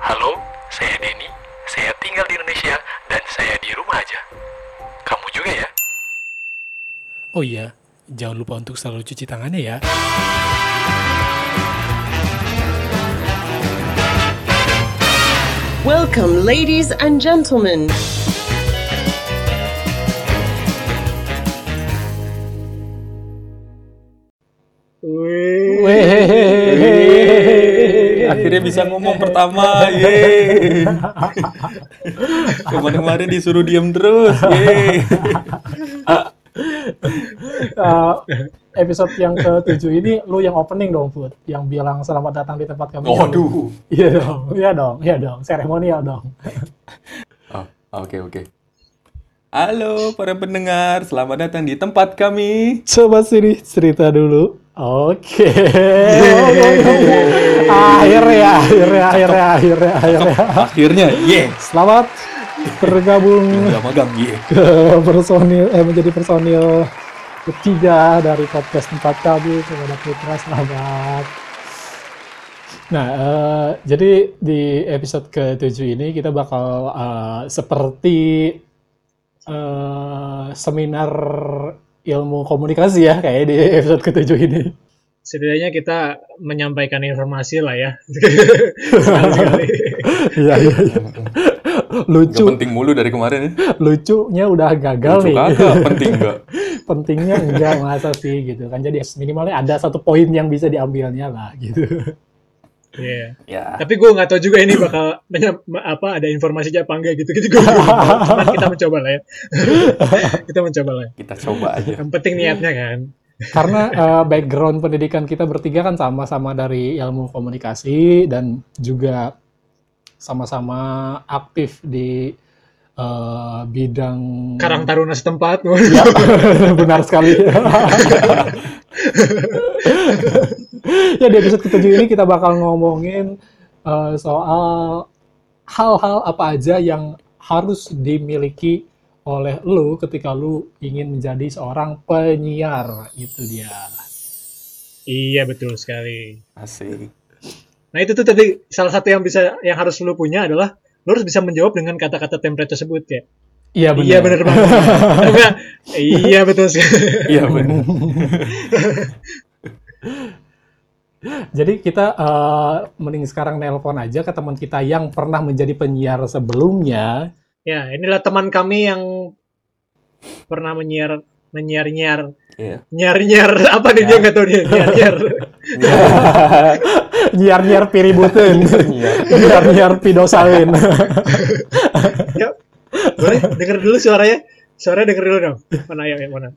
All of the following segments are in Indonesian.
Halo, saya Denny. Saya tinggal di Indonesia dan saya di rumah aja. Kamu juga ya? Oh iya, jangan lupa untuk selalu cuci tangannya ya. Welcome, ladies and gentlemen. Wih. Iya, Akhirnya bisa ngomong pertama. Yeay. Kemarin-kemarin disuruh diem terus. Yeay. Eh, episode yang ke-7 ini lu yang opening dong, Put. Yang bilang selamat datang di tempat kami. Waduh. Iya dong, iya dong, iya dong. Seremonial dong. Oh, Oke, oke. Halo para pendengar, selamat datang di tempat kami. Coba sini cerita dulu. Oke. akhirnya, akhirnya, akhirnya, akhirnya, akhirnya. Akhirnya, ye. Selamat bergabung Udah magang, ye. ke personil, eh menjadi personil ketiga dari podcast tempat kami kepada Putra selamat. Nah, eh, jadi di episode ke-7 ini kita bakal eh, seperti eh, seminar ilmu komunikasi ya kayak di episode ke-7 ini. setidaknya kita menyampaikan informasi lah ya sekali-sekali Iya, iya, iya. Gak Lucu, penting mulu dari kemarin. ya. lucunya udah gagal Lucu nih. kagak, penting gak? pentingnya enggak masa sih gitu kan jadi minimalnya ada satu poin yang bisa diambilnya lah gitu Iya. Ya. tapi gue nggak tahu juga ini bakal menyam- apa ada informasinya apa enggak gitu gitu gue cuman kita mencoba lah ya kita mencoba lah ya. Kita coba aja. yang penting niatnya kan karena eh, background pendidikan kita bertiga kan sama-sama dari ilmu komunikasi dan juga sama-sama aktif di eh, bidang karang taruna setempat Ya, benar sekali. ya di episode ketujuh ini kita bakal ngomongin eh, soal hal-hal apa aja yang harus dimiliki oleh lu ketika lu ingin menjadi seorang penyiar itu dia. iya betul sekali Asik. nah itu tuh tadi salah satu yang bisa yang harus lu punya adalah lu harus bisa menjawab dengan kata-kata template tersebut ya Iya benar. iya benar banget Karena, iya betul sekali Iya benar. Jadi kita eh, mending sekarang nelpon aja ke teman kita yang pernah menjadi penyiar sebelumnya Ya, inilah teman kami yang pernah menyiar menyiar nyiar Iya. nyiar nyiar apa nih dia nggak tahu dia nyiar nyiar nyiar-nyiar piributun Iya. nyiar-nyiar pidosalin ya boleh denger dulu suaranya suaranya denger dulu dong mana ya ya, mana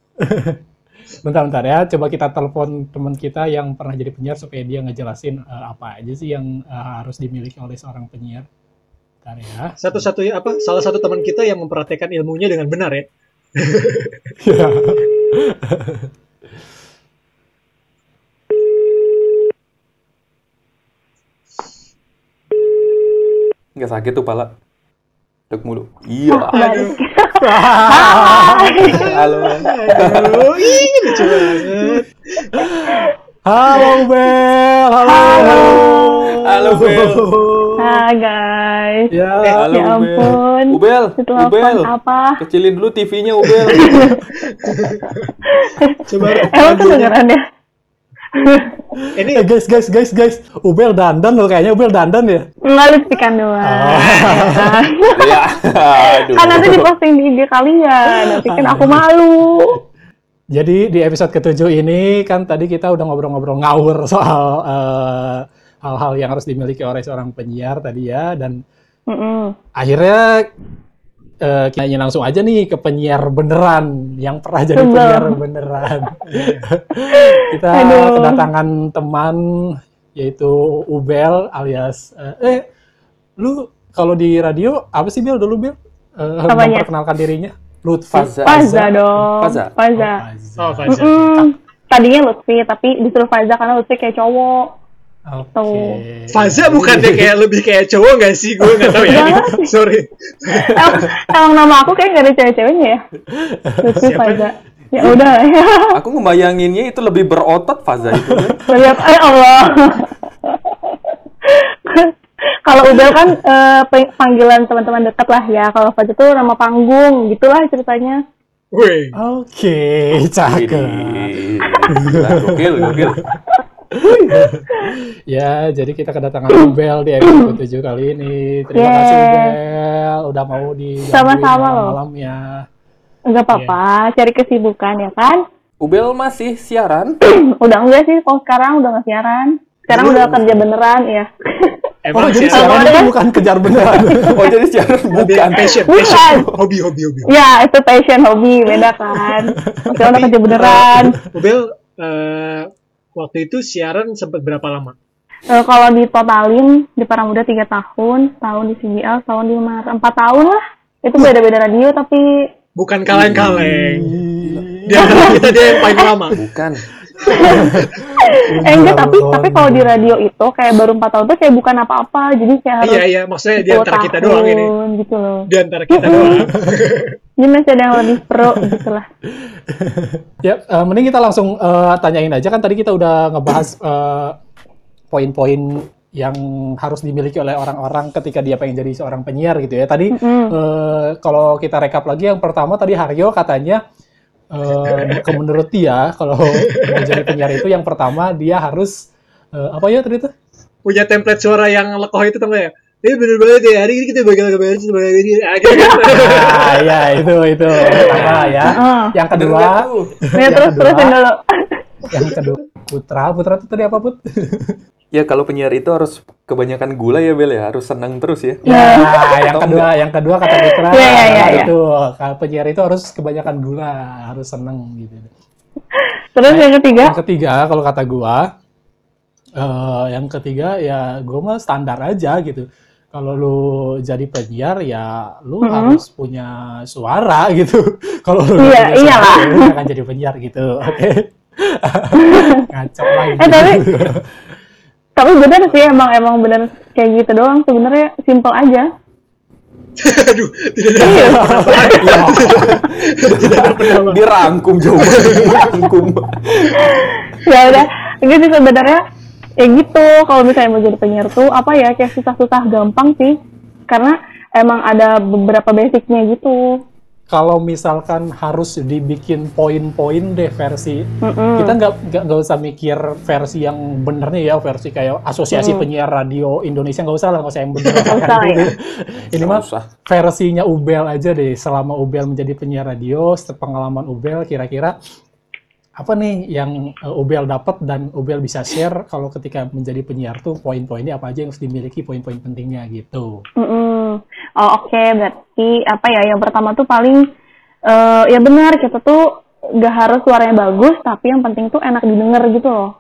bentar-bentar ya coba kita telepon teman kita yang pernah jadi penyiar supaya dia ngejelasin eh, apa aja sih yang eh, harus dimiliki oleh seorang penyiar bentar ya satu satunya apa salah satu teman kita yang memperhatikan ilmunya dengan benar ya Gak sakit tuh pala. Dek mulu. Iya. aduh Halo. aduh ih Oh, iya, lucu banget halo Bel halo halo Halo, Bel. Eh, oh. Hai guys, ya Halo, ya Ubel. ampun. Ubel, Setelah Ubel. apa? Kecilin dulu TV-nya, Ubel. coba Emang kedengeran ya? ini Eh, guys guys guys guys Ubel dandan loh kayaknya Ubel dandan ya Enggak lu speakan doang. ya. Aduh. kan nanti diposting di IG kalian, nanti kan aku malu. Jadi di episode ketujuh ini kan tadi kita udah ngobrol-ngobrol ngawur soal eh, hal-hal yang harus dimiliki oleh seorang penyiar tadi ya dan Mm-mm. akhirnya eh, kita nanya langsung aja nih ke penyiar beneran yang pernah jadi Sebelum. penyiar beneran. kita Aduh. kedatangan teman yaitu Ubel alias eh, eh, lu kalau di radio apa sih Bel dulu Bel? Eh, Apanya? memperkenalkan dirinya Lutfi. Faza. Faza dong. Faza. Faza. oh Fajar. Mm-mm. Tadinya Lutfi, tapi disuruh Faza karena Lutfi kayak cowok. Oke. Tuh. Faza bukannya kayak lebih kayak cowok nggak sih? Gue nggak tahu ya. Jangan. Sorry. Emang, emang nama aku kayak gak ada cewek-ceweknya ya? Lutfi Siapa? Faza. Ya udah ya. Aku ngebayanginnya itu lebih kan. berotot Faza itu. Lihat, eh Allah. Kalau Ubel kan eh, pe- panggilan teman-teman dekat lah ya. Kalau Fajar tuh nama panggung gitulah ceritanya. Wih, Oke, cakep. Widih. Gila, Gokil, gokil. Ya, jadi kita kedatangan Ubel di episode 7 kali ini. Terima Yeay. kasih Ubel udah mau ya. di Sama-sama loh. malamnya. Iya. Enggak apa-apa, cari kesibukan ya kan? Ubel masih siaran? Oh, udah enggak sih kalau sekarang udah nggak siaran. Sekarang udah kerja beneran ya. Oh, emang jadi Iya. siaran. siaran kan, itu bukan kejar beneran. Oh jadi siaran Hobi- bukan. passion, Bukan. passion, hobi, hobi, hobi. ya, itu passion hobi, beda kan. Sekarang udah kerja beneran. Ubel, eh, waktu itu siaran sempat berapa lama? Eh, kalau ditotalin di Paramuda 3 tahun, tahun di CGL, tahun di Mar 4 tahun lah. Itu beda-beda radio tapi Bukan kaleng-kaleng. Di antara kita dia yang paling lama. Bukan. Iya, eh, enggak, tapi tapi kalau di radio itu kayak baru 4 tahun tuh kayak bukan apa-apa. Jadi kayak harus Iya, iya. Maksudnya di 10 antara kita doang ini. tahun gitu loh. Di antara kita doang. Jadi masih ada yang lebih pro gitu lah. ya, eh, mending kita langsung eh, tanyain aja kan tadi kita udah ngebahas eh, poin-poin yang harus dimiliki oleh orang-orang ketika dia pengen jadi seorang penyiar gitu ya. Tadi Mm. eh, kalau kita rekap lagi yang pertama tadi Haryo katanya eh kalau menurut dia kalau mau jadi penyiar itu yang pertama dia harus eh, apa ya tadi tuh? Punya template suara yang lekoh itu tau nggak ya? Ini bener banget ya, hari ini kita bakal ngebahas sebagai ini. Ah, gitu kan. Nah, ya itu itu yang pertama ya. Heeh. Yang kedua, Iya, Nah, terus terusin dulu. yang kedua Putra, Putra itu tadi apa Put? Ya kalau penyiar itu harus kebanyakan gula ya Bel ya, harus senang terus ya. Iya. Nah, yang kedua, yang kedua kata Putra Nah, Iya, iya, iya, iya. itu kalau penyiar itu harus kebanyakan gula, harus seneng gitu. Terus yang ketiga, Yang ketiga kalau kata gua eh, yang ketiga ya gua mah standar aja gitu. Kalau lu jadi penyiar ya lu harus punya suara gitu. Kalau lu nggak Iya, punya suara, iyalah. ya lu nggak akan jadi penyiar gitu. Oke. Ngaco lagi. Eh, tapi- tapi bener sih emang emang bener kayak gitu doang sebenarnya simple aja. Iya. Aduh, tidak ada yang penasaran. Tidak ada penasaran. Dirangkum jauh. Dirangkum. ya udah gitu sebenarnya ya gitu kalau misalnya mau jadi penyiar tuh apa ya kayak susah-susah gampang sih karena emang ada beberapa basicnya gitu Kalau misalkan harus dibikin poin-poin deh versi Mm-mm. kita nggak nggak nggak usah mikir versi yang benernya ya versi kayak asosiasi penyiar radio Indonesia nggak usah lah nggak usah yang bener usah lah ya. ini mah Nggak usah. versinya Ubel aja deh selama Ubel menjadi penyiar radio pengalaman Ubel kira-kira apa nih yang eh, Ubel dapat dan Ubel bisa share kalau ketika menjadi penyiar tuh poin-poinnya apa aja yang harus dimiliki poin-poin pentingnya gitu Mm-mm. Oh, oke berarti apa ya yang pertama tuh paling eh, ya benar kita tuh gak harus suaranya bagus tapi yang penting tuh enak didengar gitu loh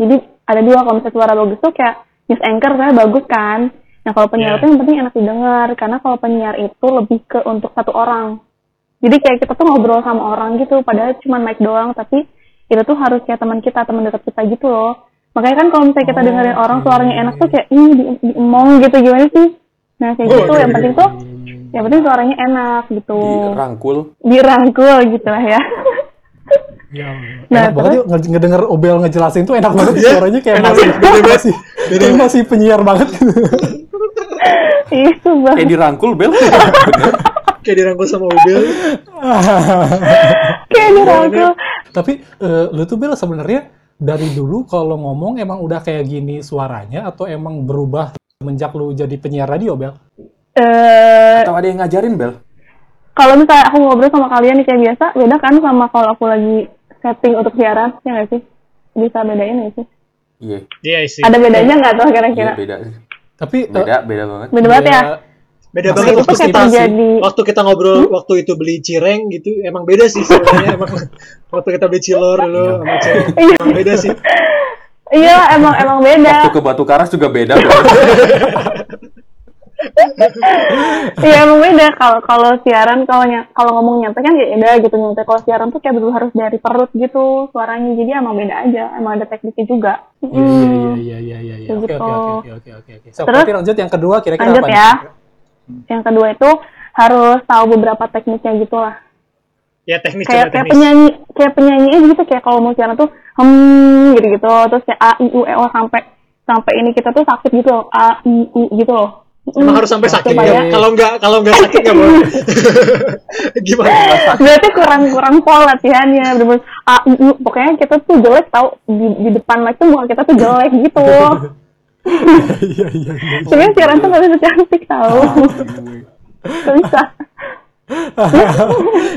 jadi ada dua kalau misalnya suara bagus tuh kayak news anchor saya bagus kan nah kalau penyiar Yeah. tuh yang penting enak didengar karena kalau penyiar itu lebih ke untuk satu orang jadi kayak kita tuh ngobrol sama orang gitu padahal cuma mic doang tapi itu tuh harus kayak teman kita teman dekat kita gitu loh makanya kan kalau misalnya kita dengerin orang suaranya enak tuh kayak ih di, diemong gitu gimana sih nah kayak gitu yang penting tuh yang penting suaranya enak gitu Dirangkul. dirangkul gitu lah ya Nah, enak banget yuk nge- ngedenger Ubel ngejelasin tuh enak banget Iya, suaranya kayak enak masih banget. Beda banget. masih, kayak masih penyiar banget itu banget Kayak Eh, dirangkul Bel. Kayak dirangkul sama Ubel. kayak dirangkul Tapi eh, lu tuh Bel sebenarnya dari dulu kalau ngomong emang udah kayak gini suaranya atau emang berubah semenjak lu jadi penyiar radio Bel? eh Atau ada yang ngajarin Bel? kalau misalnya aku ngobrol sama kalian nih kayak biasa beda kan sama kalau aku lagi setting untuk siaran ya nggak sih bisa bedain nggak sih Iya, Iya sih. ada bedanya nggak tuh iya kira-kira beda. Tapi eh, Beda, beda banget. beda banget ya Beda Maksudnya banget itu waktu kayak kita terjadi Oh. waktu kita ngobrol Hmm? waktu itu beli cireng gitu emang beda sih sebenarnya emang waktu kita beli cilor dulu sama cireng emang beda sih iya emang emang beda Waktu ke Batu Karas juga beda Bel. iya emang beda kalau kalau siaran kalau nya- kalau ngomong nyantai kan ya beda gitu nyantai kalau siaran tuh kayak dulu harus dari perut gitu suaranya jadi emang beda aja emang ada tekniknya juga iya Mm. iya iya iya iya. Kayak Oke gitu. oke oke oke, oke oke oke. So, Terus, berarti lanjut yang kedua kira-kira lanjut apa? nih? ya. yang kedua itu harus tahu beberapa tekniknya gitu lah ya teknis coba kayak kayak teknis penyanyi eh, kayak penyanyi gitu kayak kalau mau siaran tuh hmm gitu gitu terus kayak a i u e o sampai sampai ini kita tuh sakit gitu loh a i u gitu loh Emang Mm, harus sampai sakit ya? supaya- Kalau nggak kalau nggak sakit nggak boleh. Gimana? berarti kurang kurang pol latihannya bener-bener a i u pokoknya kita tuh jelek tau di, di depan mic tuh muka kita tuh jelek gitu Iya, iya, iya. sebenarnya siaran tuh nggak bisa cantik tau Ah. nggak bisa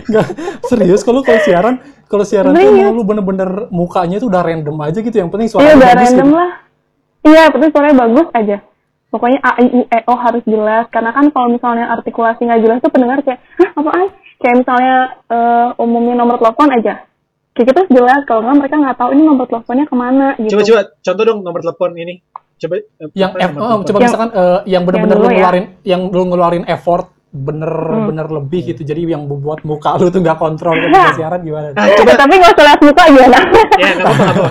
Nggak, serius kalau kalau siaran kalau siaran tuh Serius. emang lu bener-bener mukanya tuh udah random aja gitu yang penting suara iya lu udah bagus random gitu. lah iya tapi suaranya bagus aja pokoknya a i u e o harus jelas karena kan kalau misalnya artikulasi nggak jelas tuh pendengar kayak hah apaan kayak misalnya eh, umumnya nomor telepon aja kayak gitu harus jelas kalau nggak mereka nggak tahu ini nomor teleponnya kemana gitu Coba coba contoh dong nomor telepon ini. Coba eh, yang apa eff- nomor oh, telepon? coba Yang- misalkan eh, yang bener-bener lu yang dulu ya. ngeluarin yang lu ngeluarin effort bener-bener Hmm. lebih gitu jadi yang membuat muka lu tuh nggak kontrol ketika siaran gimana Ah, Eh, coba tapi nggak usah lihat muka gimana ya nggak apa-apa nggak apa-apa.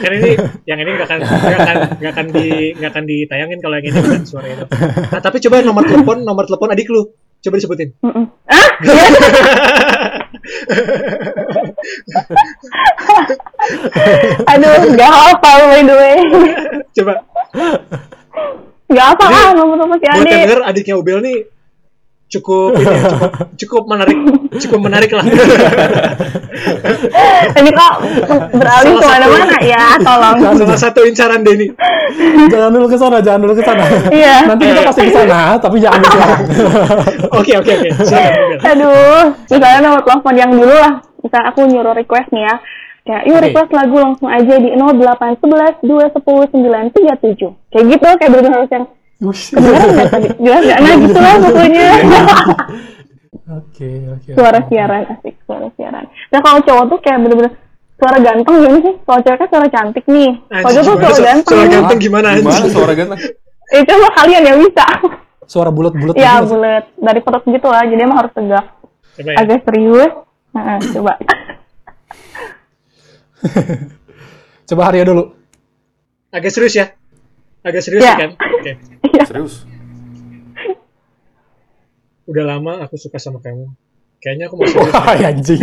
Kan ini yang ini nggak akan nggak akan nggak akan di nggak akan ditayangin kalau yang ini bukan suara itu. Nah, tapi coba nomor telepon nomor telepon adik lu. Coba disebutin. Mm-mm. ah iya aduh nggak hafal by the way Coba nggak apa ah nomor telepon buat si yang Andi denger adiknya Ubel nih cukup ini ya, cukup cukup menarik cukup menarik lah. ini kok Salah beralih satu. kemana-mana ya tolong Salah satu incaran Denny. jangan dulu ke sana jangan dulu ke sana Iya. nanti kita pasti ke sana tapi jangan ke siaran Oke oke oke. Silakan Ubel. Aduh, misalnya nomor telepon yang dulu lah. Misalnya aku nyuruh request nih ya. Kayak, yuk Oke. request lagu langsung aja di 0811 210 937. Kayak gitu, kayak bener harus yang Ush. kedengeran nggak tadi? Jelas nggak? Nah gitu lah pokoknya. oke oke suara siaran, asik. Suara siaran. Nah kalau cowok tuh kayak bener-bener suara ganteng gimana sih? Kalau cewek kan suara cantik nih. Kalau Anjing, cowok tuh gimana suara su- ganteng. ya. suara ganteng gimana Gimana anjing? suara ganteng? Itu mah kalian yang bisa. suara bulat-bulat ya gitu. bulat. Dari perut gitu lah. Jadi emang harus tegak. Coba ya. Agak serius. Nah, coba. coba Haria dulu Agak serius ya? Agak serius Ya. ya kan? Oke. Serius? Udah lama aku suka sama kamu. Kayaknya aku mau serius. wah ya anjing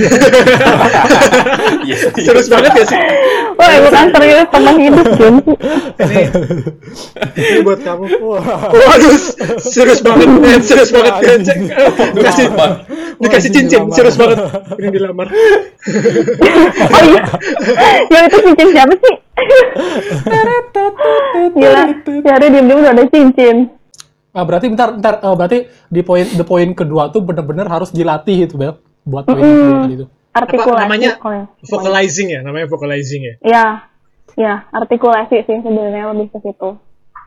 Iya. serius banget ya sih? Wah, Iya bukan serius ya, teman hidup, Jun. Ini, ini buat kamu. Waduh, serius banget, men. Serius banget. Ganceng. Dikasih, dikasih Wah, cincin, dilamar. serius banget. Ini dilamar. Oh iya. Yang itu cincin siapa sih? Gila, Syahri diem-diem udah ada cincin. Ah, berarti bentar, bentar. Ah, berarti di poin the poin kedua tuh bener-bener harus dilatih itu, Bel. Buat poin yang kedua tadi itu. Apa Artikulasi. namanya? pokoknya. Vocalizing ya, namanya vocalizing ya. Ya, ya, artikulasi sih sebenarnya lebih ke situ.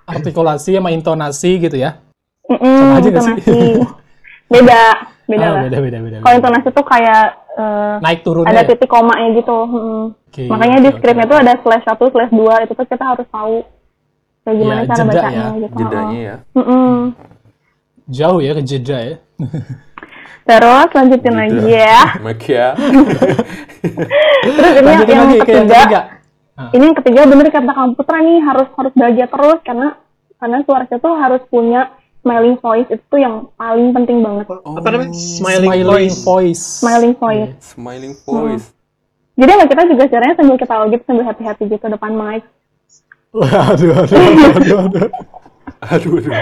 Artikulasi sama intonasi gitu ya. Mm-mm, aja nggak sih? intonasi. Beda, beda Ah, lah. beda, beda, beda. Kalau beda. intonasi tuh kayak eh, Naik turunnya. ada ya? titik komanya gitu. mm. Oke, Makanya di oke, scriptnya oke. tuh ada slash 1, slash 2, itu tuh kita harus tahu kayak gimana Ya, cara jeda bacanya ya, gitu. Jedanya ya. Mm-mm. Jauh ya ke jeda ya. Iya, Terus lanjutin Gitu. lagi ya. Make ya. Terus ini yang, Lanjutin lagi ke ketiga, yang ketiga. Ah, ini yang ketiga bener kata Kang Putra nih harus harus bahagia terus karena karena suaranya tuh harus punya smiling voice itu tuh yang paling penting banget. Apa namanya? Oh, Smiling, smiling voice. voice. Smiling voice. Smiling voice. Jadi emang kita juga caranya sambil ketawa gitu sambil hati-hati gitu depan mic. aduh, aduh, aduh, aduh, aduh. Aduh, aduh.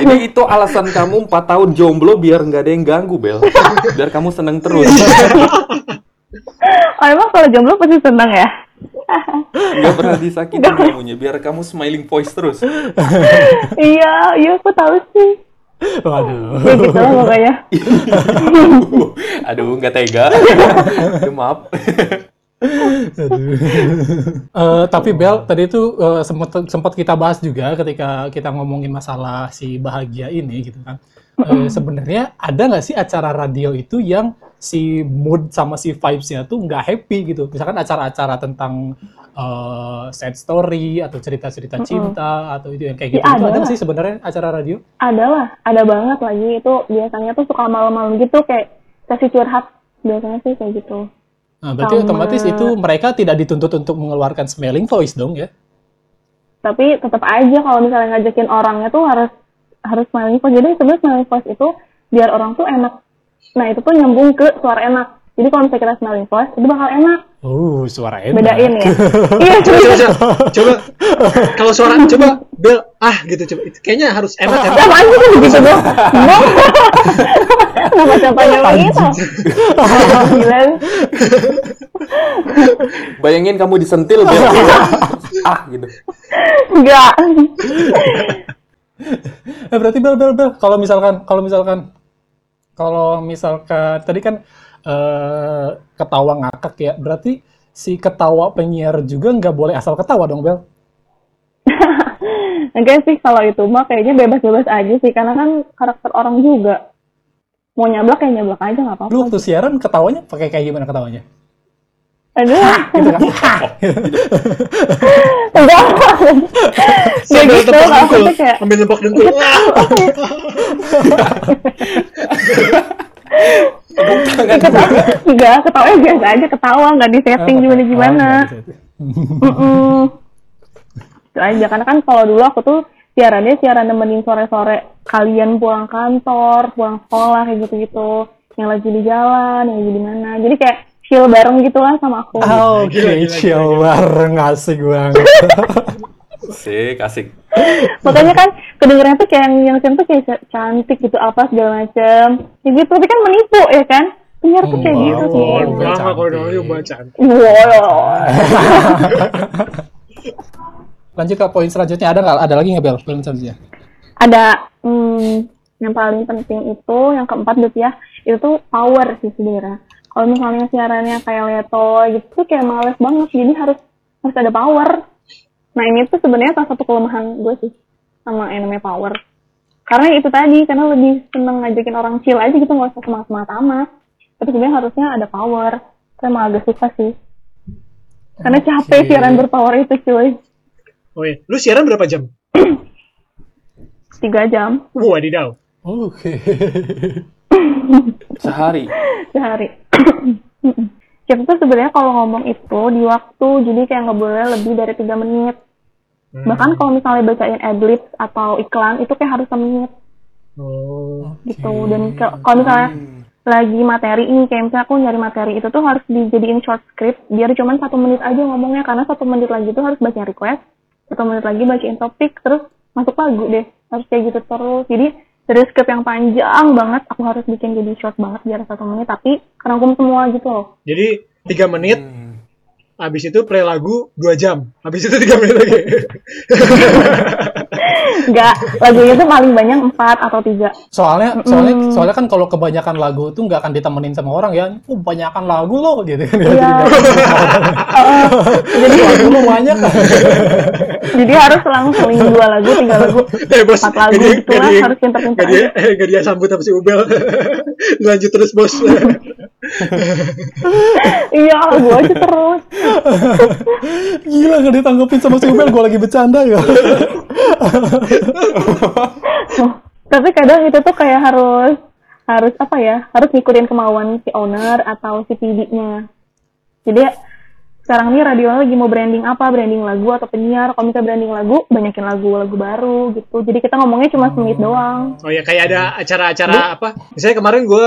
Jadi itu alasan kamu 4 tahun jomblo biar nggak ada yang ganggu, Bel. Biar kamu seneng terus. Oh emang kalau jomblo pasti seneng ya? Nggak pernah disakitin kamunya. Biar kamu smiling voice terus. iya, iya aku tahu sih. Waduh. Ya gitu lah pokoknya. Aduh, nggak tega. Aduh, maaf. Eh, tapi Bel, tadi itu eh, sempet sempat kita bahas juga ketika kita ngomongin masalah si bahagia ini gitu kan. Eh, Sebenarnya ada nggak sih acara radio itu yang si mood sama si vibes-nya tuh nggak happy gitu? Misalkan acara-acara tentang eh, sad story atau cerita-cerita cinta atau itu yang kayak Ya, gitu. Itu ada ada nggak lah. sih sebenarnya acara radio? Ada lah, ada banget lagi itu biasanya tuh suka malam-malam gitu kayak kasih curhat biasanya sih kayak gitu. Nah, berarti Sama. otomatis itu mereka tidak dituntut untuk mengeluarkan smelling voice dong ya? tapi tetap aja kalau misalnya ngajakin orangnya tuh harus harus smiling voice jadi sebenarnya smiling voice itu biar orang tuh enak nah itu tuh nyambung ke suara enak Jadi kalau misalnya kita smelling voice, itu bakal enak. Uh, suara enak. Bedain ya. iya, Coba, serius. coba, coba, coba. Kalau suara, coba bel, ah gitu, coba. Itu kayaknya harus enak kan? Ya, apaan sih kan begitu dong? Bang! Kenapa contohnya begitu? Gila. Bayangin kamu disentil Bel. ah gitu. Enggak. Eh, berarti bel bel bel kalau misalkan kalau misalkan kalau misalkan tadi kan eh, ketawa ngakak ya berarti si ketawa penyiar juga nggak boleh asal ketawa dong bel Enggak sih kalau itu mah kayaknya bebas-bebas aja sih karena kan karakter orang juga. Mau nyablak ya nyablak aja nggak apa-apa. lu waktu siaran ketawanya pakai kayak gimana ketawanya Aduh. gitu kan Enggak. Enggak Sambil gitu tepuk kalau aku dengkul, tuh kayak sambil tepuk dengkul. Wah, ketawa enggak ketawa biasa aja ketawa nggak disetting gimana gimana ah, Nah, gitu. Mm-mm. Itu aja karena kan kalau dulu aku tuh siarannya siaran nemenin sore-sore kalian pulang kantor pulang sekolah kayak gitu-gitu yang lagi di jalan yang lagi di mana jadi kayak chill bareng gitu lah sama aku Oh, Gila, gila, Oke, gila, chill bareng asik banget. Sik, asik. makanya kan kedengerannya tuh kayak yang yang siang tuh kayak ca- cantik gitu apa segala macem ya gitu tapi kan menipu ya kan penyiar tuh kayak gitu Iya, sih Mohon Oh, maaf, cantik. kalau dulu baca. wow Lanjut ke poin selanjutnya ada nggak? Ada lagi nggak Bel? Poin selanjutnya. ada hmm, yang paling penting itu yang keempat gitu ya itu tuh power sih sebenarnya kalau misalnya siarannya kayak leto gitu tuh kayak males banget jadi harus harus ada power nah ini tuh sebenarnya salah satu kelemahan gue sih sama yang namanya power karena itu tadi karena lebih seneng ngajakin orang chill aja gitu nggak usah semangat semangat amat tapi sebenarnya harusnya ada power saya emang agak susah sih karena capek Oke. siaran berpower itu cuy Oh iya, lu siaran berapa jam? tiga jam Wah, didau. Oke. Sehari. sehari. Mm-mm. Kita tuh sebenarnya kalau ngomong itu di waktu, jadi kayak nggak boleh lebih dari tiga menit. Bahkan kalau misalnya bacain adlibs atau iklan, itu kayak harus semenit Oh, gitu. Dan ke- kalau misalnya lagi materi ini, kayak misalnya aku nyari materi itu tuh harus dijadiin short script, biar cuman satu menit aja ngomongnya, karena satu menit lagi tuh harus baca request, satu menit lagi bacain topik, terus masuk lagu deh. Harus kayak gitu terus. Jadi dari script yang panjang banget, aku harus bikin jadi short banget biar satu menit, tapi kerangkum semua gitu loh. jadi tiga menit, Hmm. habis itu play lagu dua jam, habis itu tiga menit lagi. Enggak, lagunya tuh paling banyak empat atau tiga. Soalnya, soalnya, soalnya kan kalau kebanyakan lagu tuh nggak akan ditemenin sama orang ya. Oh, kebanyakan lagu loh, gitu kan. Iya. ah, Heeh. Jadi lagu lo banyak. Jadi harus langsung dua lagu, tiga lagu, eh bos, empat lagu gak di- gitu lah, gak di- harus pintar-pintar. gak dia, eh, gak dia sambut sama si Ubel. Lanjut terus bos. Iya, lagu aja terus. Gila nggak ditanggepin sama si Ubel, gue lagi bercanda ya. Iya. Oh, Tapi kadang itu tuh kayak harus harus apa ya? Harus ngikutin kemauan si owner atau si PD-nya. Jadi sekarang ini radio lagi mau branding apa? Branding lagu atau penyiar? Kalau misalnya branding lagu, banyakin lagu-lagu baru gitu. Jadi kita ngomongnya cuma semenit doang. Oh ya kayak Hmm. ada acara-acara apa? Misalnya kemarin gue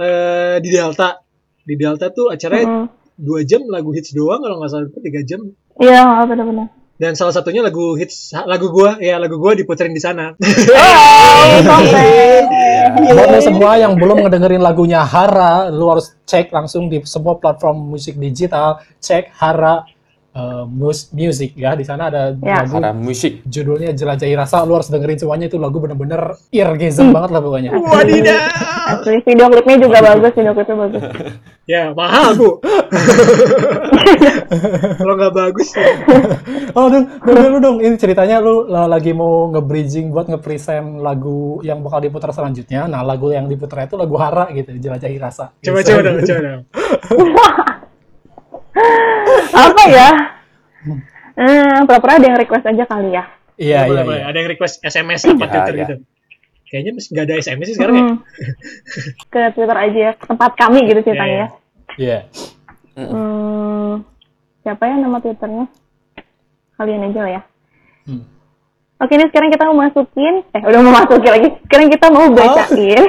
eh, di Delta, di Delta tuh acaranya Mm. dua jam lagu hits doang kalau nggak salah itu tiga jam Iya, benar-benar. dan salah satunya lagu hits lagu gua ya lagu gua diputerin di sana Hey, Buat lo semua yang belum ngedengerin lagunya Hara, lu harus cek langsung di semua platform musik digital. Cek Hara eh, mus- Music ya. Di sana ada Ya. lagu Para musik. judulnya Jelajahi Rasa. Lu harus dengerin semuanya itu lagu bener-bener Mm. eargasm banget lah pokoknya. Iya. wadidah Asli video klipnya juga bagus, video klipnya bagus. ya mahal bu kalau nggak bagus ya. Oh dong, dong, dong, lu dong. Ini ceritanya lu la- lagi mau nge-bridging buat nge-present lagu yang bakal diputar selanjutnya. Nah, lagu yang diputar itu lagu Hara gitu, Jelajahi Rasa. coba Gitu. coba dong coba dong Apa ya? Hmm, pura-pura ada yang request aja kali ya. Iya, iya, Boleh, boleh. iya. ada yang request sms apa Ya, twitter ya. gitu kayaknya masih nggak ada sms sih sekarang ya Hmm. Ke Twitter aja ya, ke tempat kami gitu ceritanya Iya, ya. Iya. Hmm, siapa ya nama Twitternya? Kalian aja lah ya. Oke, ini sekarang kita mau masukin, eh udah mau masukin lagi. Sekarang kita mau bacain.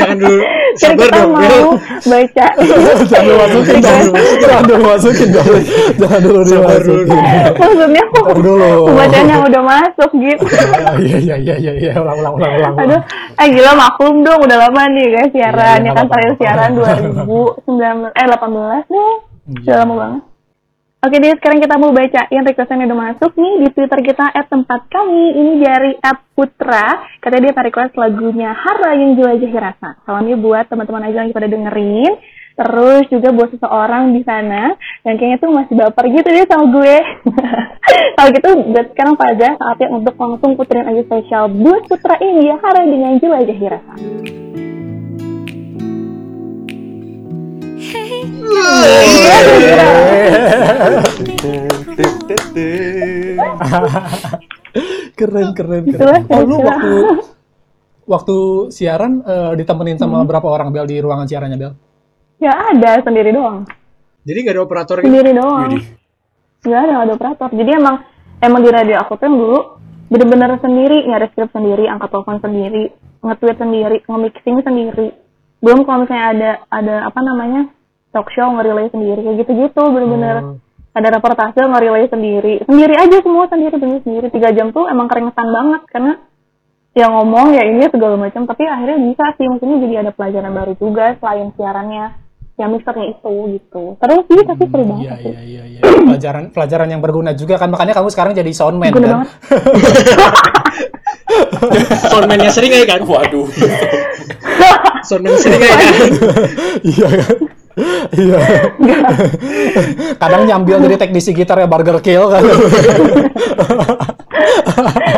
Jangan dulu. sekarang Oh. Sabar kita dong. Bel. mau bacain. jangan dulu masukin jangan dulu jangan dulu masukin jangan dulu jangan dulu Sabar dulu. dimasukin Maksudnya mau Ntar dulu. mau bacain yang udah masuk gitu. Ah, iya iya iya iya iya ulang ulang ulang ulang Aduh, eh gila maklum dong udah lama nih guys siaran. Iya, iya, ya kan nggak terakhir apa-apa. siaran 2019 eh 18 deh. Udah lama banget. Oke deh, sekarang kita mau bacain requestan yang udah masuk nih di Twitter kita at tempat kami. Ini dari at Putra. Katanya dia request lagunya Hara yang jelajahi rasa. Salamnya ya buat teman-teman aja yang pada dengerin. Terus juga buat seseorang di sana yang kayaknya tuh masih baper gitu deh sama gue. Kalau gitu, buat sekarang pada saatnya untuk langsung puterin aja spesial buat Putra ini ya Hara dengan jelajahi rasa. keren keren keren Itulah oh lu Gitu kira-kira. waktu waktu siaran eh, ditemenin sama berapa orang Bel di ruangan siarannya Bel Ya ada sendiri doang. Jadi nggak ada operator gitu. sendiri doang nggak ada nggak ada operator jadi emang emang di radio aku tuh yang dulu bener-bener sendiri nggak ada script sendiri angkat telepon sendiri nge-tweet sendiri nge-mixing sendiri belum kalau misalnya ada ada apa namanya talk show nge-relay sendiri kayak gitu-gitu bener-bener ada reportase nge-relay sendiri sendiri aja semua sendiri bener sendiri tiga jam tuh emang keringetan banget karena ya ngomong ya ini segala macam tapi akhirnya bisa sih maksudnya jadi ada pelajaran baru juga selain siarannya yang mixernya itu gitu terus sih tapi seru banget iya sih. iya iya iya pelajaran pelajaran yang berguna juga kan makanya kamu sekarang jadi soundman Berguna kan banget. Soundman-nya sering aja kan? Waduh. Soundman sering aja kan? iya kan? iya kadang nyambil jadi teknisi gitar ya Burger Kill kan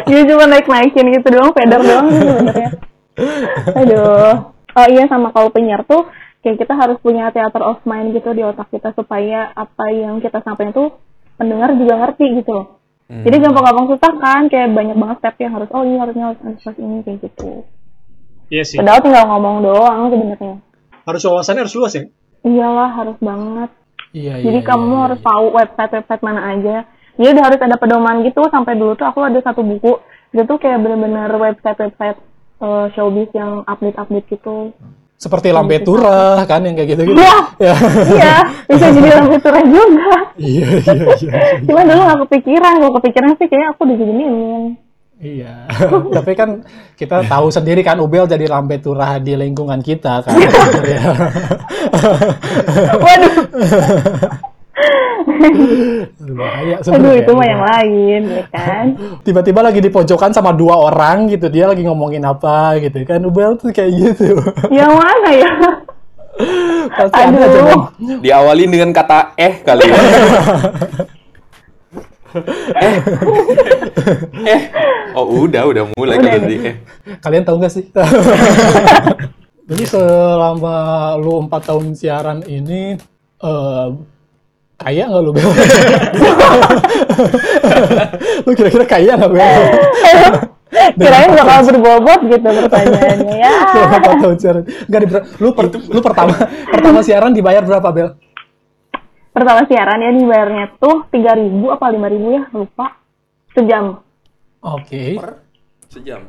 Dia Iya, cuma naik-naikin gitu doang, feather doang sih sebenarnya. Aduh. Oh iya sama kalau penyiar tuh kayak kita harus punya theater of mind gitu di otak kita supaya apa yang kita sampaikan tuh pendengar juga ngerti gitu loh. Hmm. Jadi gampang-gampang susah kan, kayak banyak banget step yang harus, oh ini harusnya harus harus harus ini kayak gitu. Iya sih. Padahal tinggal ngomong doang sebenarnya. Harus wawasannya harus luas ya. Iyalah harus banget. iya iya Jadi kamu harus tahu website-website mana aja. Jadi udah harus ada pedoman gitu. Sampai dulu tuh aku ada satu buku. Itu tuh kayak bener-bener website-website eh, showbiz yang update-update gitu. seperti lambe turah kan yang kayak gitu gitu Iya. ya iya, bisa jadi lampiran juga. iya iya iya Cuma dulu gak kepikiran. Kalau kepikiran sih kayak aku udah jadi mimin. iya tapi kan kita tahu sendiri kan Ubel jadi lambe turah di lingkungan kita kan Ya. Iya. Waduh. bahaya Aduh, sebenarnya itu mah yang lain, ya kan? tiba-tiba lagi di pojokan sama dua orang gitu dia lagi ngomongin apa gitu kan Ubel tuh kayak gitu yang mana ya? pasti ada aja Aduh. Bang. Diawali dengan kata eh kali ya. eh. eh. Oh, udah, udah mulai Udah kalau nih. tadi eh. Kalian tahu nggak sih? Jadi selama lu empat tahun siaran ini eh kaya nggak lu Bel? lu kira-kira kaya nggak Bel? Eh, Kirain bakal berbobot gitu pertanyaannya ya. Selama empat tahun siaran, nggak diber- lu, per- lu pertama pertama siaran dibayar berapa Bel? pertama siaran ya dibayarnya tuh tiga ribu apa lima ribu ya lupa sejam Oke, Sejam.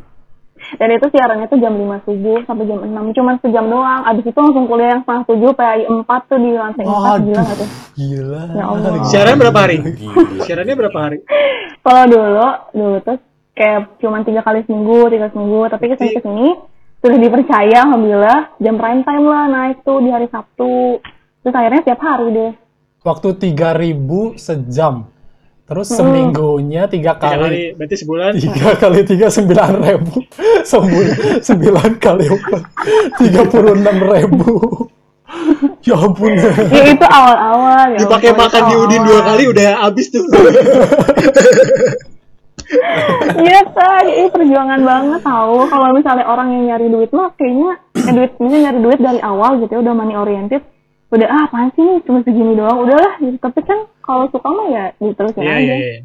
dan itu siarannya tuh jam 5 subuh sampai jam 6 cuman sejam doang abis itu langsung kuliah yang setengah tujuh PAI 4 tuh di lantai 4 gila gak tuh gila. Ya Allah. Siarannya berapa hari? Siarannya berapa hari? kalau dulu dulu tuh kayak cuman tiga kali seminggu tiga seminggu tapi kesini kesini sudah dipercaya alhamdulillah jam prime time lah naik tuh di hari Sabtu terus akhirnya setiap hari deh Waktu 3000 sejam, terus Hmm. seminggunya tiga kali. Tiga kali. Berarti sebulan. tiga kali tiga sembilan ribu sembilan sembilan kali empat tiga puluh enam ribu ya ampun ya itu awal-awal ya Dipakai ampun, makan itu di Udin awal. dua kali udah habis tuh. Iya kan, ini perjuangan banget tahu. Kalau misalnya orang yang nyari duit mah kayaknya eh, duit misalnya nyari duit dari awal gitu ya udah money oriented, udah ah apaan sih nih cuma segini doang, udahlah. Gitu. Tapi kan kalau suka mah ya diterusin Iya, aja. iya, iya.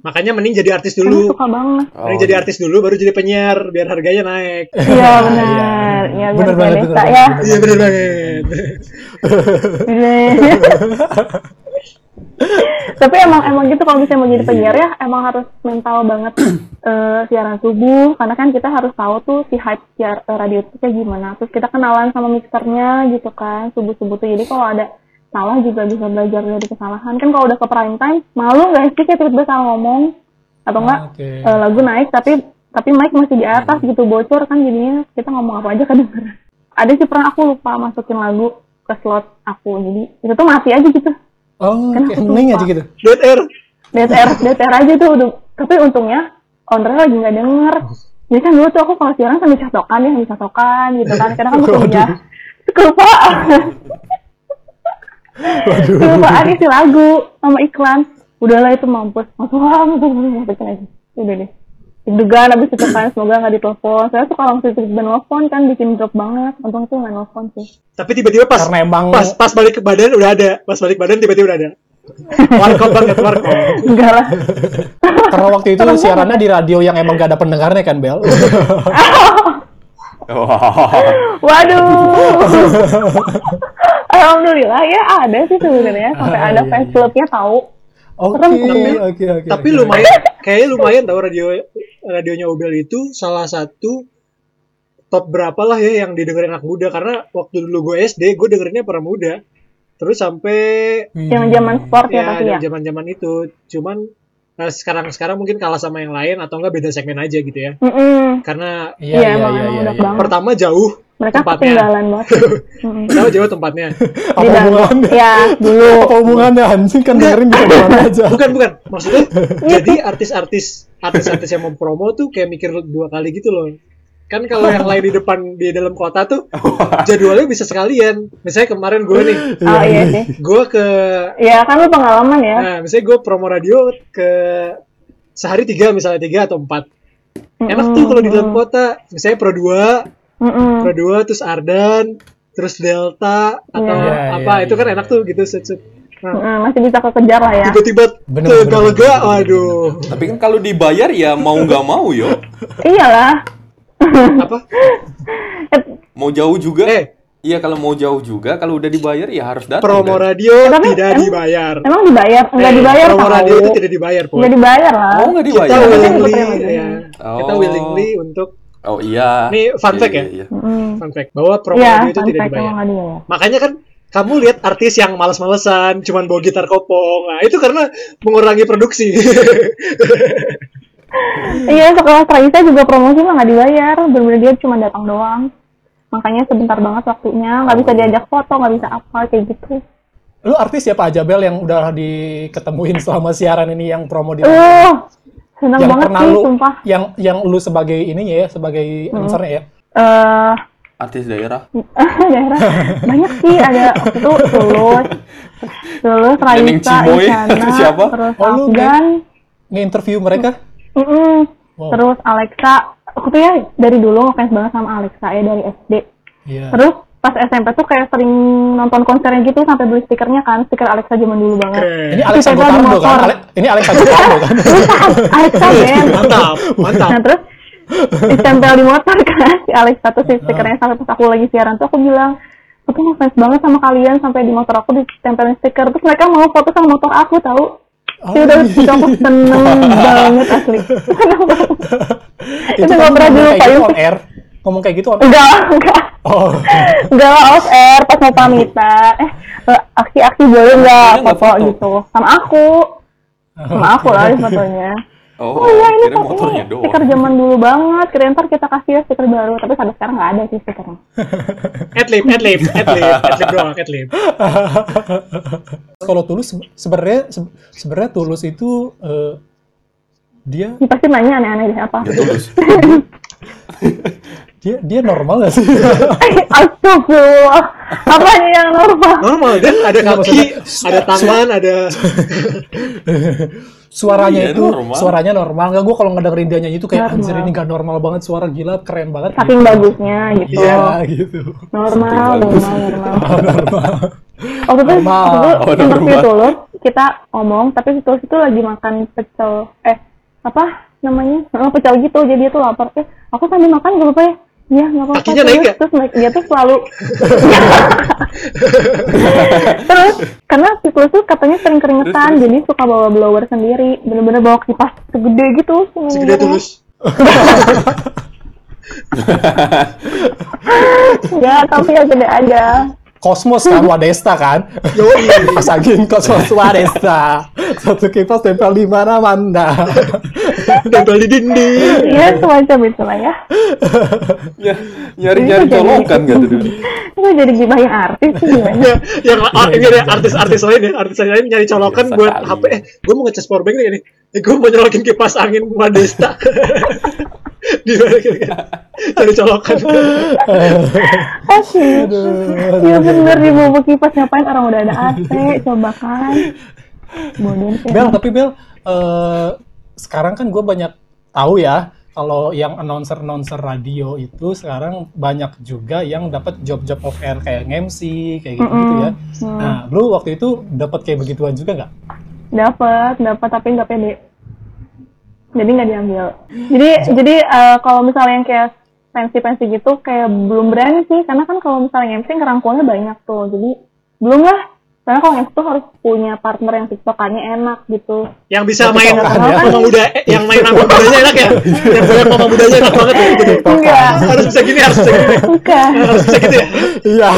Makanya mending jadi artis Karena dulu. suka banget. Oh, Mending iya. jadi artis dulu baru jadi penyiar biar harganya naik. Iya benar. Iya Bener benar banget, desa Iya, bener banget. ya. Iya bener banget. Bener. tapi emang emang gitu kalau misalnya mau jadi penyiar ya emang harus mental banget eh, siaran subuh karena kan kita harus tahu tuh si hype siar eh, radio itu kayak gimana terus kita kenalan sama mixernya gitu kan subuh subuh tuh jadi kalau ada salah juga bisa belajar dari kesalahan kan kalau udah ke prime time malu nggak sih kayak tiba-tiba salah ngomong atau enggak Oke. lagu naik tapi tapi mic masih di atas gitu bocor kan jadinya kita ngomong apa aja kedengeran ada sih pernah aku lupa masukin lagu ke slot aku jadi itu tuh mati aja gitu Oh, kayak Kenapa tuh, hening Pak? aja gitu. Dead air. DTR DTR aja tuh udah tapi untungnya ownernya lagi nggak denger jadi kan dulu tuh aku kalau siaran sambil catokan ya sambil catokan gitu kan karena kan aku kuliah kelupaan kelupaan isi lagu sama iklan udahlah itu mampus mampus wah mampus mampus, mampus aja udah deh deg-degan abis itu kan semoga nggak ditelepon saya suka langsung tiba-tiba nelfon kan bikin drop banget untung tuh nggak nelfon sih Tapi tiba-tiba pas Karena emang- pas pas balik ke badan udah ada. Pas balik badan tiba-tiba udah ada. Warkop banget warkop. Iya, enggak lah Karena waktu itu siarannya di radio yang emang gak ada pendengarnya kan, Bel. Waduh. Alhamdulillah ya ada sih sebenarnya sampai ada fans clubnya tahu. Oke, Tapi- Iya, oke, oke. Iya, Tapi oke. lumayan kayaknya lumayan tau radio radionya Obel itu salah satu top berapa lah ya yang didengerin anak muda karena waktu dulu gue SD gue dengerinnya para muda terus sampai Iya. Zaman-zaman sport ya, pasti ya ya. zaman-zaman itu cuman nah, sekarang-sekarang mungkin kalah sama yang lain atau enggak beda segmen aja gitu ya Mm-mm. karena Iya, emang emang udah banget. pertama jauh Mereka tempatnya. ketinggalan banget. Mm-mm. pertama jauh tempatnya Apa Di dalam- hubungannya? Ya dulu. Apa hubungannya anjing kan dengerin Iya. bisa kemana aja. bukan bukan maksudnya jadi artis-artis artis-artis yang mau promo tuh kayak mikir dua kali gitu loh kan kalau yang lain di depan di dalam kota tuh jadwalnya bisa sekalian misalnya kemarin gue nih Oh iya sih. gue ke Ya kan lu pengalaman ya. nah misalnya gue promo radio ke sehari tiga misalnya tiga atau empat enak tuh kalau di dalam kota misalnya pro 2 Mm-mm. pro 2 terus Ardan terus Delta atau Iya, apa iya, itu kan iya, enak tuh gitu set set. Nah, Mm-mm, Masih bisa kekejar lah ya. tiba-tiba Bener, lega aduh Tapi kan kalau dibayar ya mau nggak mau yo. Iyalah. apa Eh, Mau jauh juga. eh Iya kalau mau jauh juga kalau udah dibayar ya harus datang. promo kan? radio Eh, tapi tidak emang- dibayar Emang dibayar? Enggak Eh, dibayar promo tahu. radio itu tidak dibayar Paul. Enggak dibayar lah. Oh nggak dibayar. kita Iya, willingly iya, iya. ya. kita Oh. willingly untuk Oh iya. Ini fun Iya, fact ya? iya, iya. Mm-mm. fun fact bahwa promo Iya, radio itu fun tidak fact dibayar emang nggak dibayar. makanya kan kamu lihat artis yang malas-malesan cuman bawa gitar kopong nah, itu karena mengurangi produksi Iya, sekolah Traisa juga promosi mah nggak dibayar. Bener-bener dia cuma datang doang. Makanya sebentar banget waktunya. Nggak bisa diajak foto, nggak bisa apa, kayak gitu. Lu artis siapa aja, Bel, yang udah diketemuin selama siaran ini yang promo di Eh, radio? seneng yang banget pernah sih, lu sumpah. yang yang lu sebagai ininya ya sebagai announcernya ya Eh, Artis daerah. daerah banyak sih ada waktu itu Tulus, Tulus, Neneng Raisa, Cimoy, Isyana, siapa? terus Oh, lu Afgan, nge-interview mereka mm-mm, Wow. terus Alexa. Aku tuh ya dari dulu ngefans banget sama Alexa ya dari SD. iya Terus pas SMP tuh kayak sering nonton konsernya gitu sampai beli stikernya kan, stiker Alexa zaman dulu banget. ini Alexa Kita di Gotardo motor. kan Ale- ini Alexa Gotardo kan Bukan, Alexa band. mantap mantap Nah terus ditempel di motor kan si Alexa tuh si stikernya sampai pas aku lagi siaran tuh aku bilang aku ngefans banget sama kalian sampai di motor aku ditempelin stiker terus mereka mau foto sama motor aku tahu Oh, Ya udah iya. itu aku seneng banget asli. Seneng banget. Itu kan nggak pernah ngomong kayak dilupain gitu on sih. air ngomong kayak gitu on air Enggak, lah, enggak. oh Enggak lah off air pas mau pamitan. Eh, eh, aksi-aksi boleh nggak Dia nggak foto foto. gitu sama aku. Sama aku lah di fotonya. Oh, Oh iya ini kira kok motornya ini doang. stiker zaman dulu banget. Kira ntar kita kasih ya stiker baru. Tapi sampai sekarang nggak ada sih stikernya. adlib adlib adlib adlib doang adlib kalau tulus se- sebenarnya se- sebenarnya tulus itu eh, dia Ini pasti nanya aneh-aneh deh apa. Ya tulus. dia dia normal gak sih Eh, Astagfirullah. Apa nih yang normal? normal dan ada Nggak, kaki ada tangan ada suaranya Iya, itu normal. suaranya normal nggak gue kalau ngedengerin dia nyanyi itu kayak Normal. anjir ini gak normal banget suara gila keren banget Saking bagusnya gitu. iya gitu Normal, normal, normal. normal Waktu itu, Normal. waktu Oh, itu interview normal. tulus, kita ngomong, tapi si tulus itu lagi makan pecel, eh, apa namanya, Eh, pecel gitu, jadi dia tuh lapar, eh, aku sambil makan gak apa-apa ya, Iya, nggak apa-apa. Kakinya terus, naik nggak? Terus naik, dia tuh selalu... terus, karena siklus tuh katanya sering keringetan, Terus, terus. jadi suka bawa blower sendiri. Bener-bener bawa kipas segede gitu. segede tulus Ya, tapi ya gede aja. Kosmos kan Wadesta kan? Pas angin Kosmos Wadesta. Satu kipas tempel di mana-mana. nempel di dinding Iya, semacam itulah ya. nyari nyari Ini kan- tuh colokan jadi- gak tuh dulu Itu jadi gibahin artis sih gimana? ya, yang ah, ini ada artis-artis lain ya artis lain nyari colokan Biasa buat kali. HP eh gue mau ngecas powerbank nih ini eh, gue mau nyolokin kipas angin Wadesta di mana kira-kira nyari colokan Oh sih. Iya bener di bawah kipas ngapain orang udah ada AC, coba kan. Bodoh sih. Bel, tapi Bel, eh, sekarang kan gue banyak tahu ya, kalau yang announcer-announcer radio itu sekarang banyak juga yang dapat job-job off air kayak MC, kayak gitu-gitu ya. Mm-mm. Nah, lu waktu itu dapat kayak begituan juga nggak? Dapat, dapat tapi nggak pede. Jadi nggak diambil. Jadi jadi eh, kalau misalnya yang kayak pensi-pensi gitu kayak belum berani sih karena kan kalau misalnya MC ngerangkulnya banyak tuh. Jadi belum lah. Karena kalau MC tuh harus punya partner yang tiktokannya enak gitu. yang bisa main colokan ya. mama muda eh, yang main mama mudanya enak ya yang banyak mama mudanya enak banget ya, gitu Enggak. harus bisa gini harus bisa gini Bukan. harus bisa gitu ya Iya.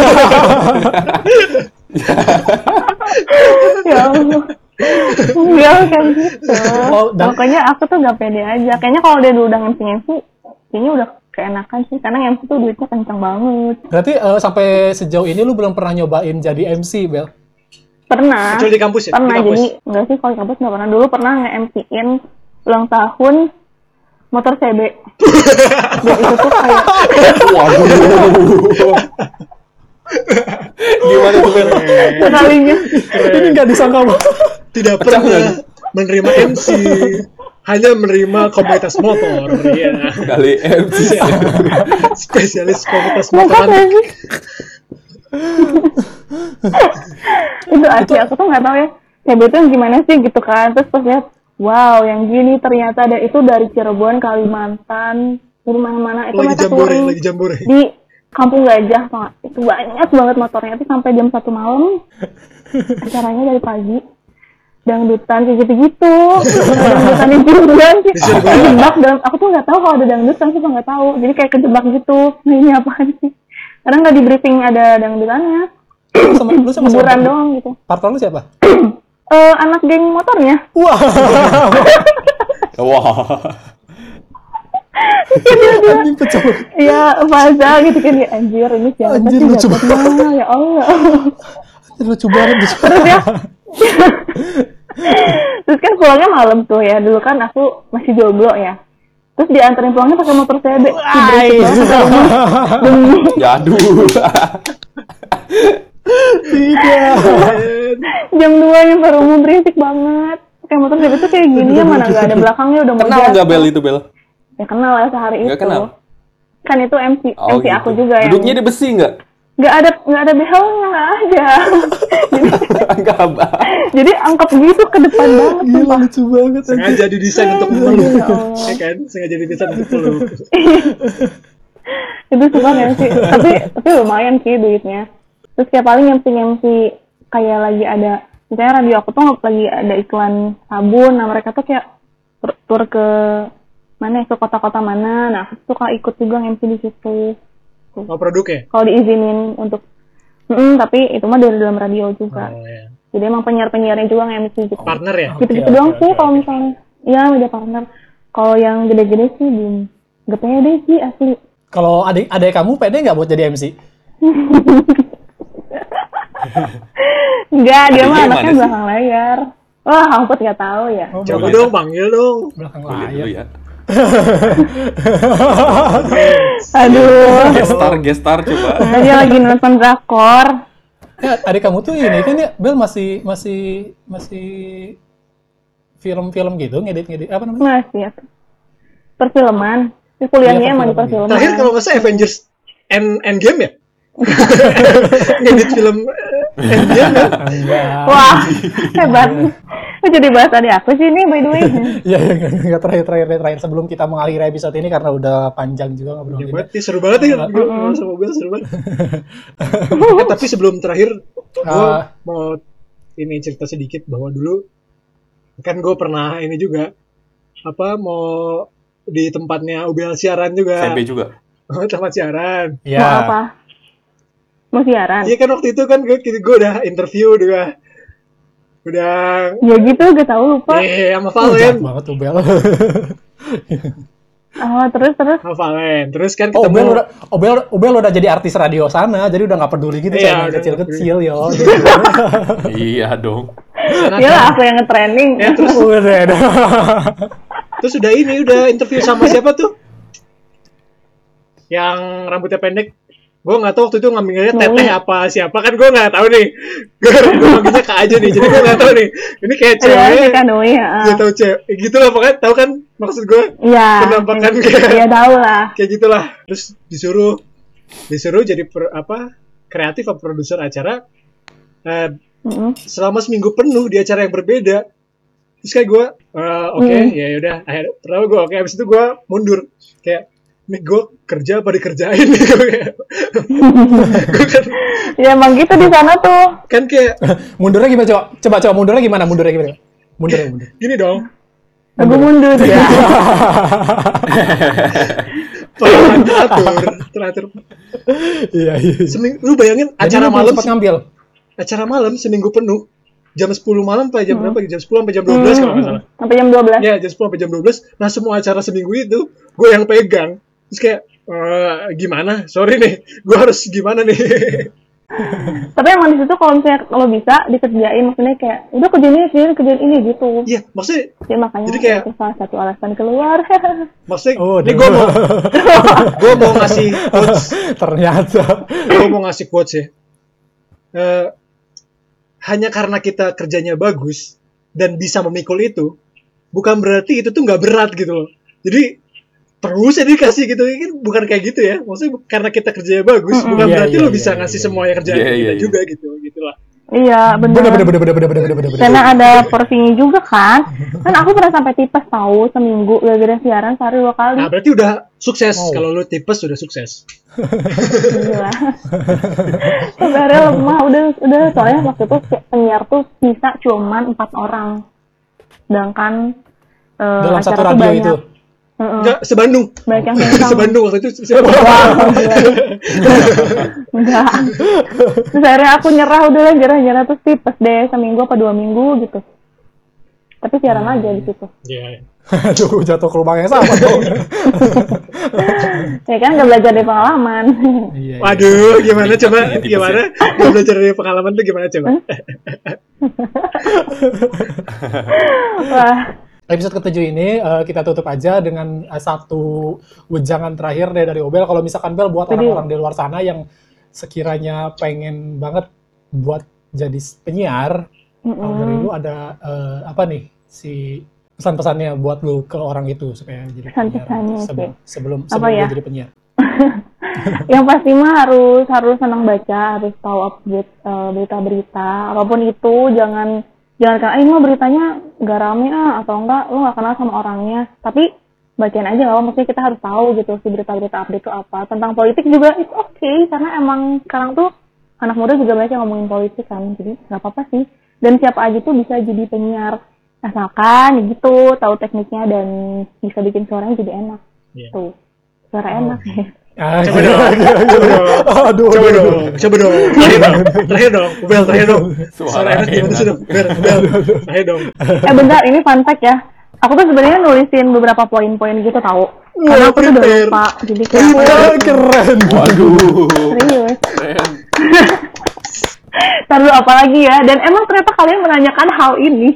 ya Allah. Enggak bukan gitu. Oh, dan- Pokoknya aku tuh gak pede aja. Kayaknya kalau dia udah ngemsi ngemsi, kayaknya udah keenakan sih. Karena ngemsi tuh duitnya kencang banget. Berarti eh, sampai sejauh ini lu belum pernah nyobain jadi MC, Bel? Pernah. kecuali di kampus ya di Pernah, kampus jadi enggak sih kalau di kampus gak pernah. Dulu pernah nge-MC-in ulang tahun motor CB. Dan itu tuh kayak, waduh gimana tuh Bel? Eh, sekaligus. Ini nggak disangka banget. tidak Pecah nggak? pernah menerima MC hanya menerima komunitas motor ya kali MC spesialis komunitas Lengkap motor gak sih? itu asli aku tuh nggak tahu ya CB itu yang gimana sih gitu kan terus pas lihat wow yang gini ternyata ada itu dari Cirebon Kalimantan dari mana-mana itu lagi mereka jambore touring lagi jambore di Kampung Gajah tau nggak? itu banyak banget motornya itu sampai jam satu malam acaranya dari pagi dangdutan kayak gitu-gitu dangdutan di Cirebon sih kejebak dalam aku tuh nggak tahu kalau ada dangdutan sih nggak tahu jadi kayak kejebak gitu nah, ini apaan sih karena nggak di briefing ada dangdutannya Lu sama, lu sama siapa? hiburan doang gitu Partner lu siapa? Eh, anak geng motornya Wah. wah Ini pecah. Iya, Faza gitu kan ya anjir ini siapa Anjir, sih lucu jatuhnya ya Allah Lucu banget. terus ya terus kan pulangnya malam tuh ya dulu kan aku masih jomblo ya terus dianterin pulangnya pakai motor CB Si berisik iya. banget sampai rumah. demi jadul jam dua nyampe rumah berisik banget kayak motor CB tuh kayak gini ya mana nggak ada belakangnya udah mau kenal jatuh. nggak Bel itu Bel ya kenal lah sehari itu Nggak kenal? kan itu MC Oh, MC aku gitu. juga yang duduknya di besi nggak nggak ada nggak ada behelnya nggak ada jadi, nggak Bel. jadi angkep gitu ke depan banget Gila lucu banget. sengaja didesain untuk meluk ya kan sengaja didesain untuk meluk itu suka MC tapi tapi lumayan sih duitnya terus kayak paling MC MC kayak lagi ada misalnya radio aku tuh lagi ada iklan sabun nah mereka tuh kayak tur, tur ke mana ya, ke kota-kota mana nah aku suka ikut juga MC di situ mau produk ya kalau diizinin untuk Mm-mm, tapi itu mah dari dalam radio juga Oh, ya. jadi emang penyiar penyiarnya juga nge MC gitu partner ya gitu gitu doang sih kalau misalnya ya media partner kalau yang gede-gede sih belum gak pede sih asli Kalau adik adik kamu pede nggak buat jadi MC? Enggak, Adiknya yang dia mah anaknya mana sih? belakang layar. Wah, angkut nggak tahu ya. Oh, coba belakang- dong panggil dong belakang Lihat iya. dulu layar. ya Aduh. gestar gestar coba Nah, dia lagi nonton drakor. Ya, adik kamu tuh ini kan ya Bel masih masih masih film-film gitu ngedit-ngedit apa namanya? Masih ya. Perfilman. Dia kuliahnya Iya, emang di perfilman. perfilman. terakhir kalau nggak salah Avengers End Endgame ya ngedit film eh, Endgame kan Enggak. Wah, hebat. Kok jadi bahasa di aku sih ini by the way? Ya, ya, nggak- nggak terakhir, terakhir, terakhir. Sebelum kita mengakhiri episode ini karena udah panjang juga ngobrol Ya banget, nih, seru banget ya gue ngobrol sama gue seru banget. Eh, tapi sebelum terakhir, gue Ah. mau ini cerita sedikit bahwa dulu kan gue pernah ini juga apa mau di tempatnya UBL siaran juga SMP juga. tempat siaran. Ya, Mau apa? Mau siaran? Iya kan waktu itu kan gue gue udah interview juga udah Ya gitu, gak tau lupa. eh sama Oh, jahat Valen, banget tuh Bel. Oh, terus terus. sama Valen. Terus kan Oh, Bel ketemu udah, oh, Bel, oh, Bel udah jadi artis radio sana, jadi udah nggak peduli gitu Iya, saya udah kecil-kecil yo. iya dong. Iyalah aku yang nge-training. nah, ya terus Udah, udah. Terus udah ini udah interview sama siapa tuh? Yang rambutnya pendek. Gue nggak tahu waktu itu ngambilnya teteh apa siapa kan gue nggak tahu nih. Gue manggilnya kak aja nih. Jadi gue nggak tahu nih. Ini kayak Iya, cewek. si Kanoi, ya. Gak tahu cewek. Eh, Gitu lah pokoknya tahu kan maksud gue Iya. Penampakan kayak- Iya tahu lah. kayak gitulah. Terus disuruh disuruh jadi per- apa kreatif atau produser acara. Eh, Mm-mm. selama seminggu penuh di acara yang berbeda terus kayak gue eh, oke Hmm. ya udah akhir pertama gue oke habis itu gue mundur kayak nih gue kerja apa dikerjain nih gue kayak- gue kan, Ya emang gitu di sana tuh. kan kayak Mundurnya gimana coba? Coba coba mundurnya gimana? Mundurnya gimana? Mundur, mundur. gini dong Aku mundur ya. pelan teratur teratur Iya, iya. seminggu lu bayangin Jadi acara lu malam sempat ngambil. acara malam seminggu penuh jam 10 malam apa jam Hmm. berapa jam 10 sampai jam 12 kalau nggak salah Sampai jam 12. ya jam 10 sampai jam 12 nah semua acara seminggu itu gue yang pegang terus kayak eh, gimana sorry nih gue harus gimana nih Tapi emang di situ kalau misalnya kalau bisa dikerjain maksudnya kayak udah kerjain ini kerjain ini, kerjain ini gitu. Iya, maksudnya, Ya makanya Jadi kayak- itu salah satu alasan keluar. maksudnya, Oh, ini aduh. gue mau, gue mau ngasih quotes, Ternyata. gue mau ngasih quotes ya. Eh, hanya karena kita kerjanya bagus dan bisa memikul itu, bukan berarti itu tuh nggak berat gitu loh. Jadi terus ya dikasih gitu, ini kan bukan kayak gitu ya. Maksudnya bu- karena kita kerjanya bagus, bukan Iya, berarti iya, lo iya, bisa iya, ngasih iya. semua yang kerjaan Iya, kita iya, iya. juga gitu, gitulah. iya benar. Bener, bener, bener, bener, bener, bener, bener, bener. Karena ada porsinya juga kan. Kan aku pernah sampai tipes tahu seminggu gara-gara siaran sehari dua kali. Nah berarti udah sukses Wow. kalau lo tipes udah sukses. Gila. Sebenarnya lemah udah udah soalnya waktu itu si- penyiar tuh bisa cuman empat orang. Sedangkan eh, Dalam satu acara tuh radio banyak. itu. Mm-mm, Enggak, sebandung. banyak yang bintang. sebandung waktu itu. Iya, Iya, sebandung. Enggak. Terus akhirnya aku nyerah udah lah nyerah-nyerah terus tipes deh seminggu apa dua minggu gitu. Tapi siaran aja di situ. Iya. Aduh, jatuh ke lubang yang sama dong. Ya kan nggak belajar dari pengalaman. Iya. Waduh, gimana coba? Iya, tipes Gimana? Gak belajar dari pengalaman tuh gimana coba? Wah. Episode ketujuh ini eh, kita tutup aja dengan eh, satu wejangan terakhir deh dari Obel. Kalau misalkan Bel buat Jadi- orang-orang di luar sana yang sekiranya pengen banget buat jadi penyiar, kalau dari Mm-mm. lu ada eh, apa nih si pesan-pesannya buat lu ke orang itu supaya jadi Pesan-pesannya penyiar sebelum sebelum, Apa sebelum dia ya? jadi penyiar. yang pasti mah harus harus senang baca harus tahu update eh, berita-berita apapun itu jangan jangan kan ah, ini mah beritanya nggak rame ah atau enggak lu nggak kenal sama orangnya tapi bacain aja nggak apa maksudnya kita harus tahu gitu si berita-berita update itu apa tentang politik juga itu oke karena emang sekarang tuh anak muda juga banyak yang ngomongin politik kan jadi nggak apa-apa sih dan siapa aja tuh bisa jadi penyiar asalkan gitu tahu tekniknya dan bisa bikin suaranya jadi enak Iya. tuh suara enak Ah, Coba iya, dong, iya, iya. coba dong. Aduh, Coba aduh, dong, aduh. coba dong. Terakhir dong, terakhir dong. Ubel, terakhir dong. Suara Suara enak gimana enak. sih dong? Ubel, Ubel, terakhir dong. eh bentar ini fun fact ya aku tuh sebenarnya nulisin beberapa poin-poin gitu tahu karena aku tuh udah prepare. lupa jadi kayak Ah, keren. Waduh. serius Keren. Ntar dulu apa lagi ya dan emang ternyata kalian menanyakan hal ini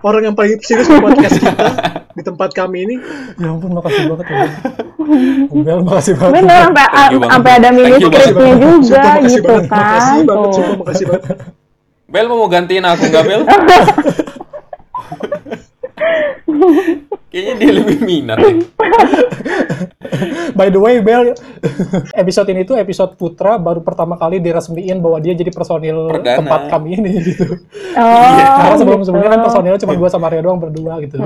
Orang yang paling serius di podcast kita, di tempat kami ini, Ya ampun, makasih banget. Obel. Obel, makasih banget. bener sampai Thank you banget. sampai ada Thank you mini scriptnya banget. juga Sumpah, makasih gitu banget, kan makasih banget, tuh. sumpah makasih banget. Bel mau gantiin aku nggak Bel? Kayaknya dia lebih minat nih. By the way, Bel, episode ini tuh episode Putra baru pertama kali diresmiin bahwa dia jadi personil Perdana. tempat kami ini gitu. Oh, Karena sebelum gitu. Oh. sebelumnya kan personilnya Iya. cuma gua sama Rio doang berdua gitu.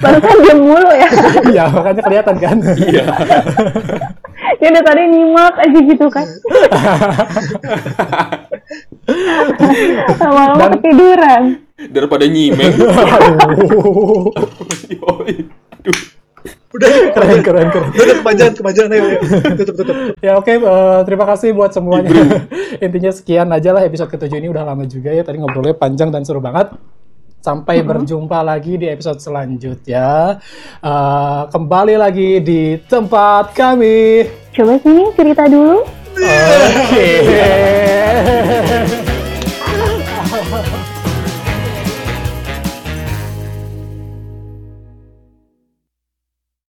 Barusan dia mulu ya. Iya, makanya kelihatan kan. Iya. Dia dari tadi nyimak aja gitu kan. Lama-lama Dan- ketiduran. Daripada nyimeng. Aduh. Yoi. Aduh. Udah, keren keren keren. udah kepanjangan, kepanjangan, ayo, ayo. Tutup, tutup. Ya oke, eh, terima kasih buat semuanya. Intinya sekian aja lah episode ketujuh ini udah lama juga ya. Tadi ngobrolnya panjang dan seru banget. Sampai berjumpa lagi di episode selanjutnya. Eh, kembali lagi di tempat kami. Coba sini cerita dulu. Oke.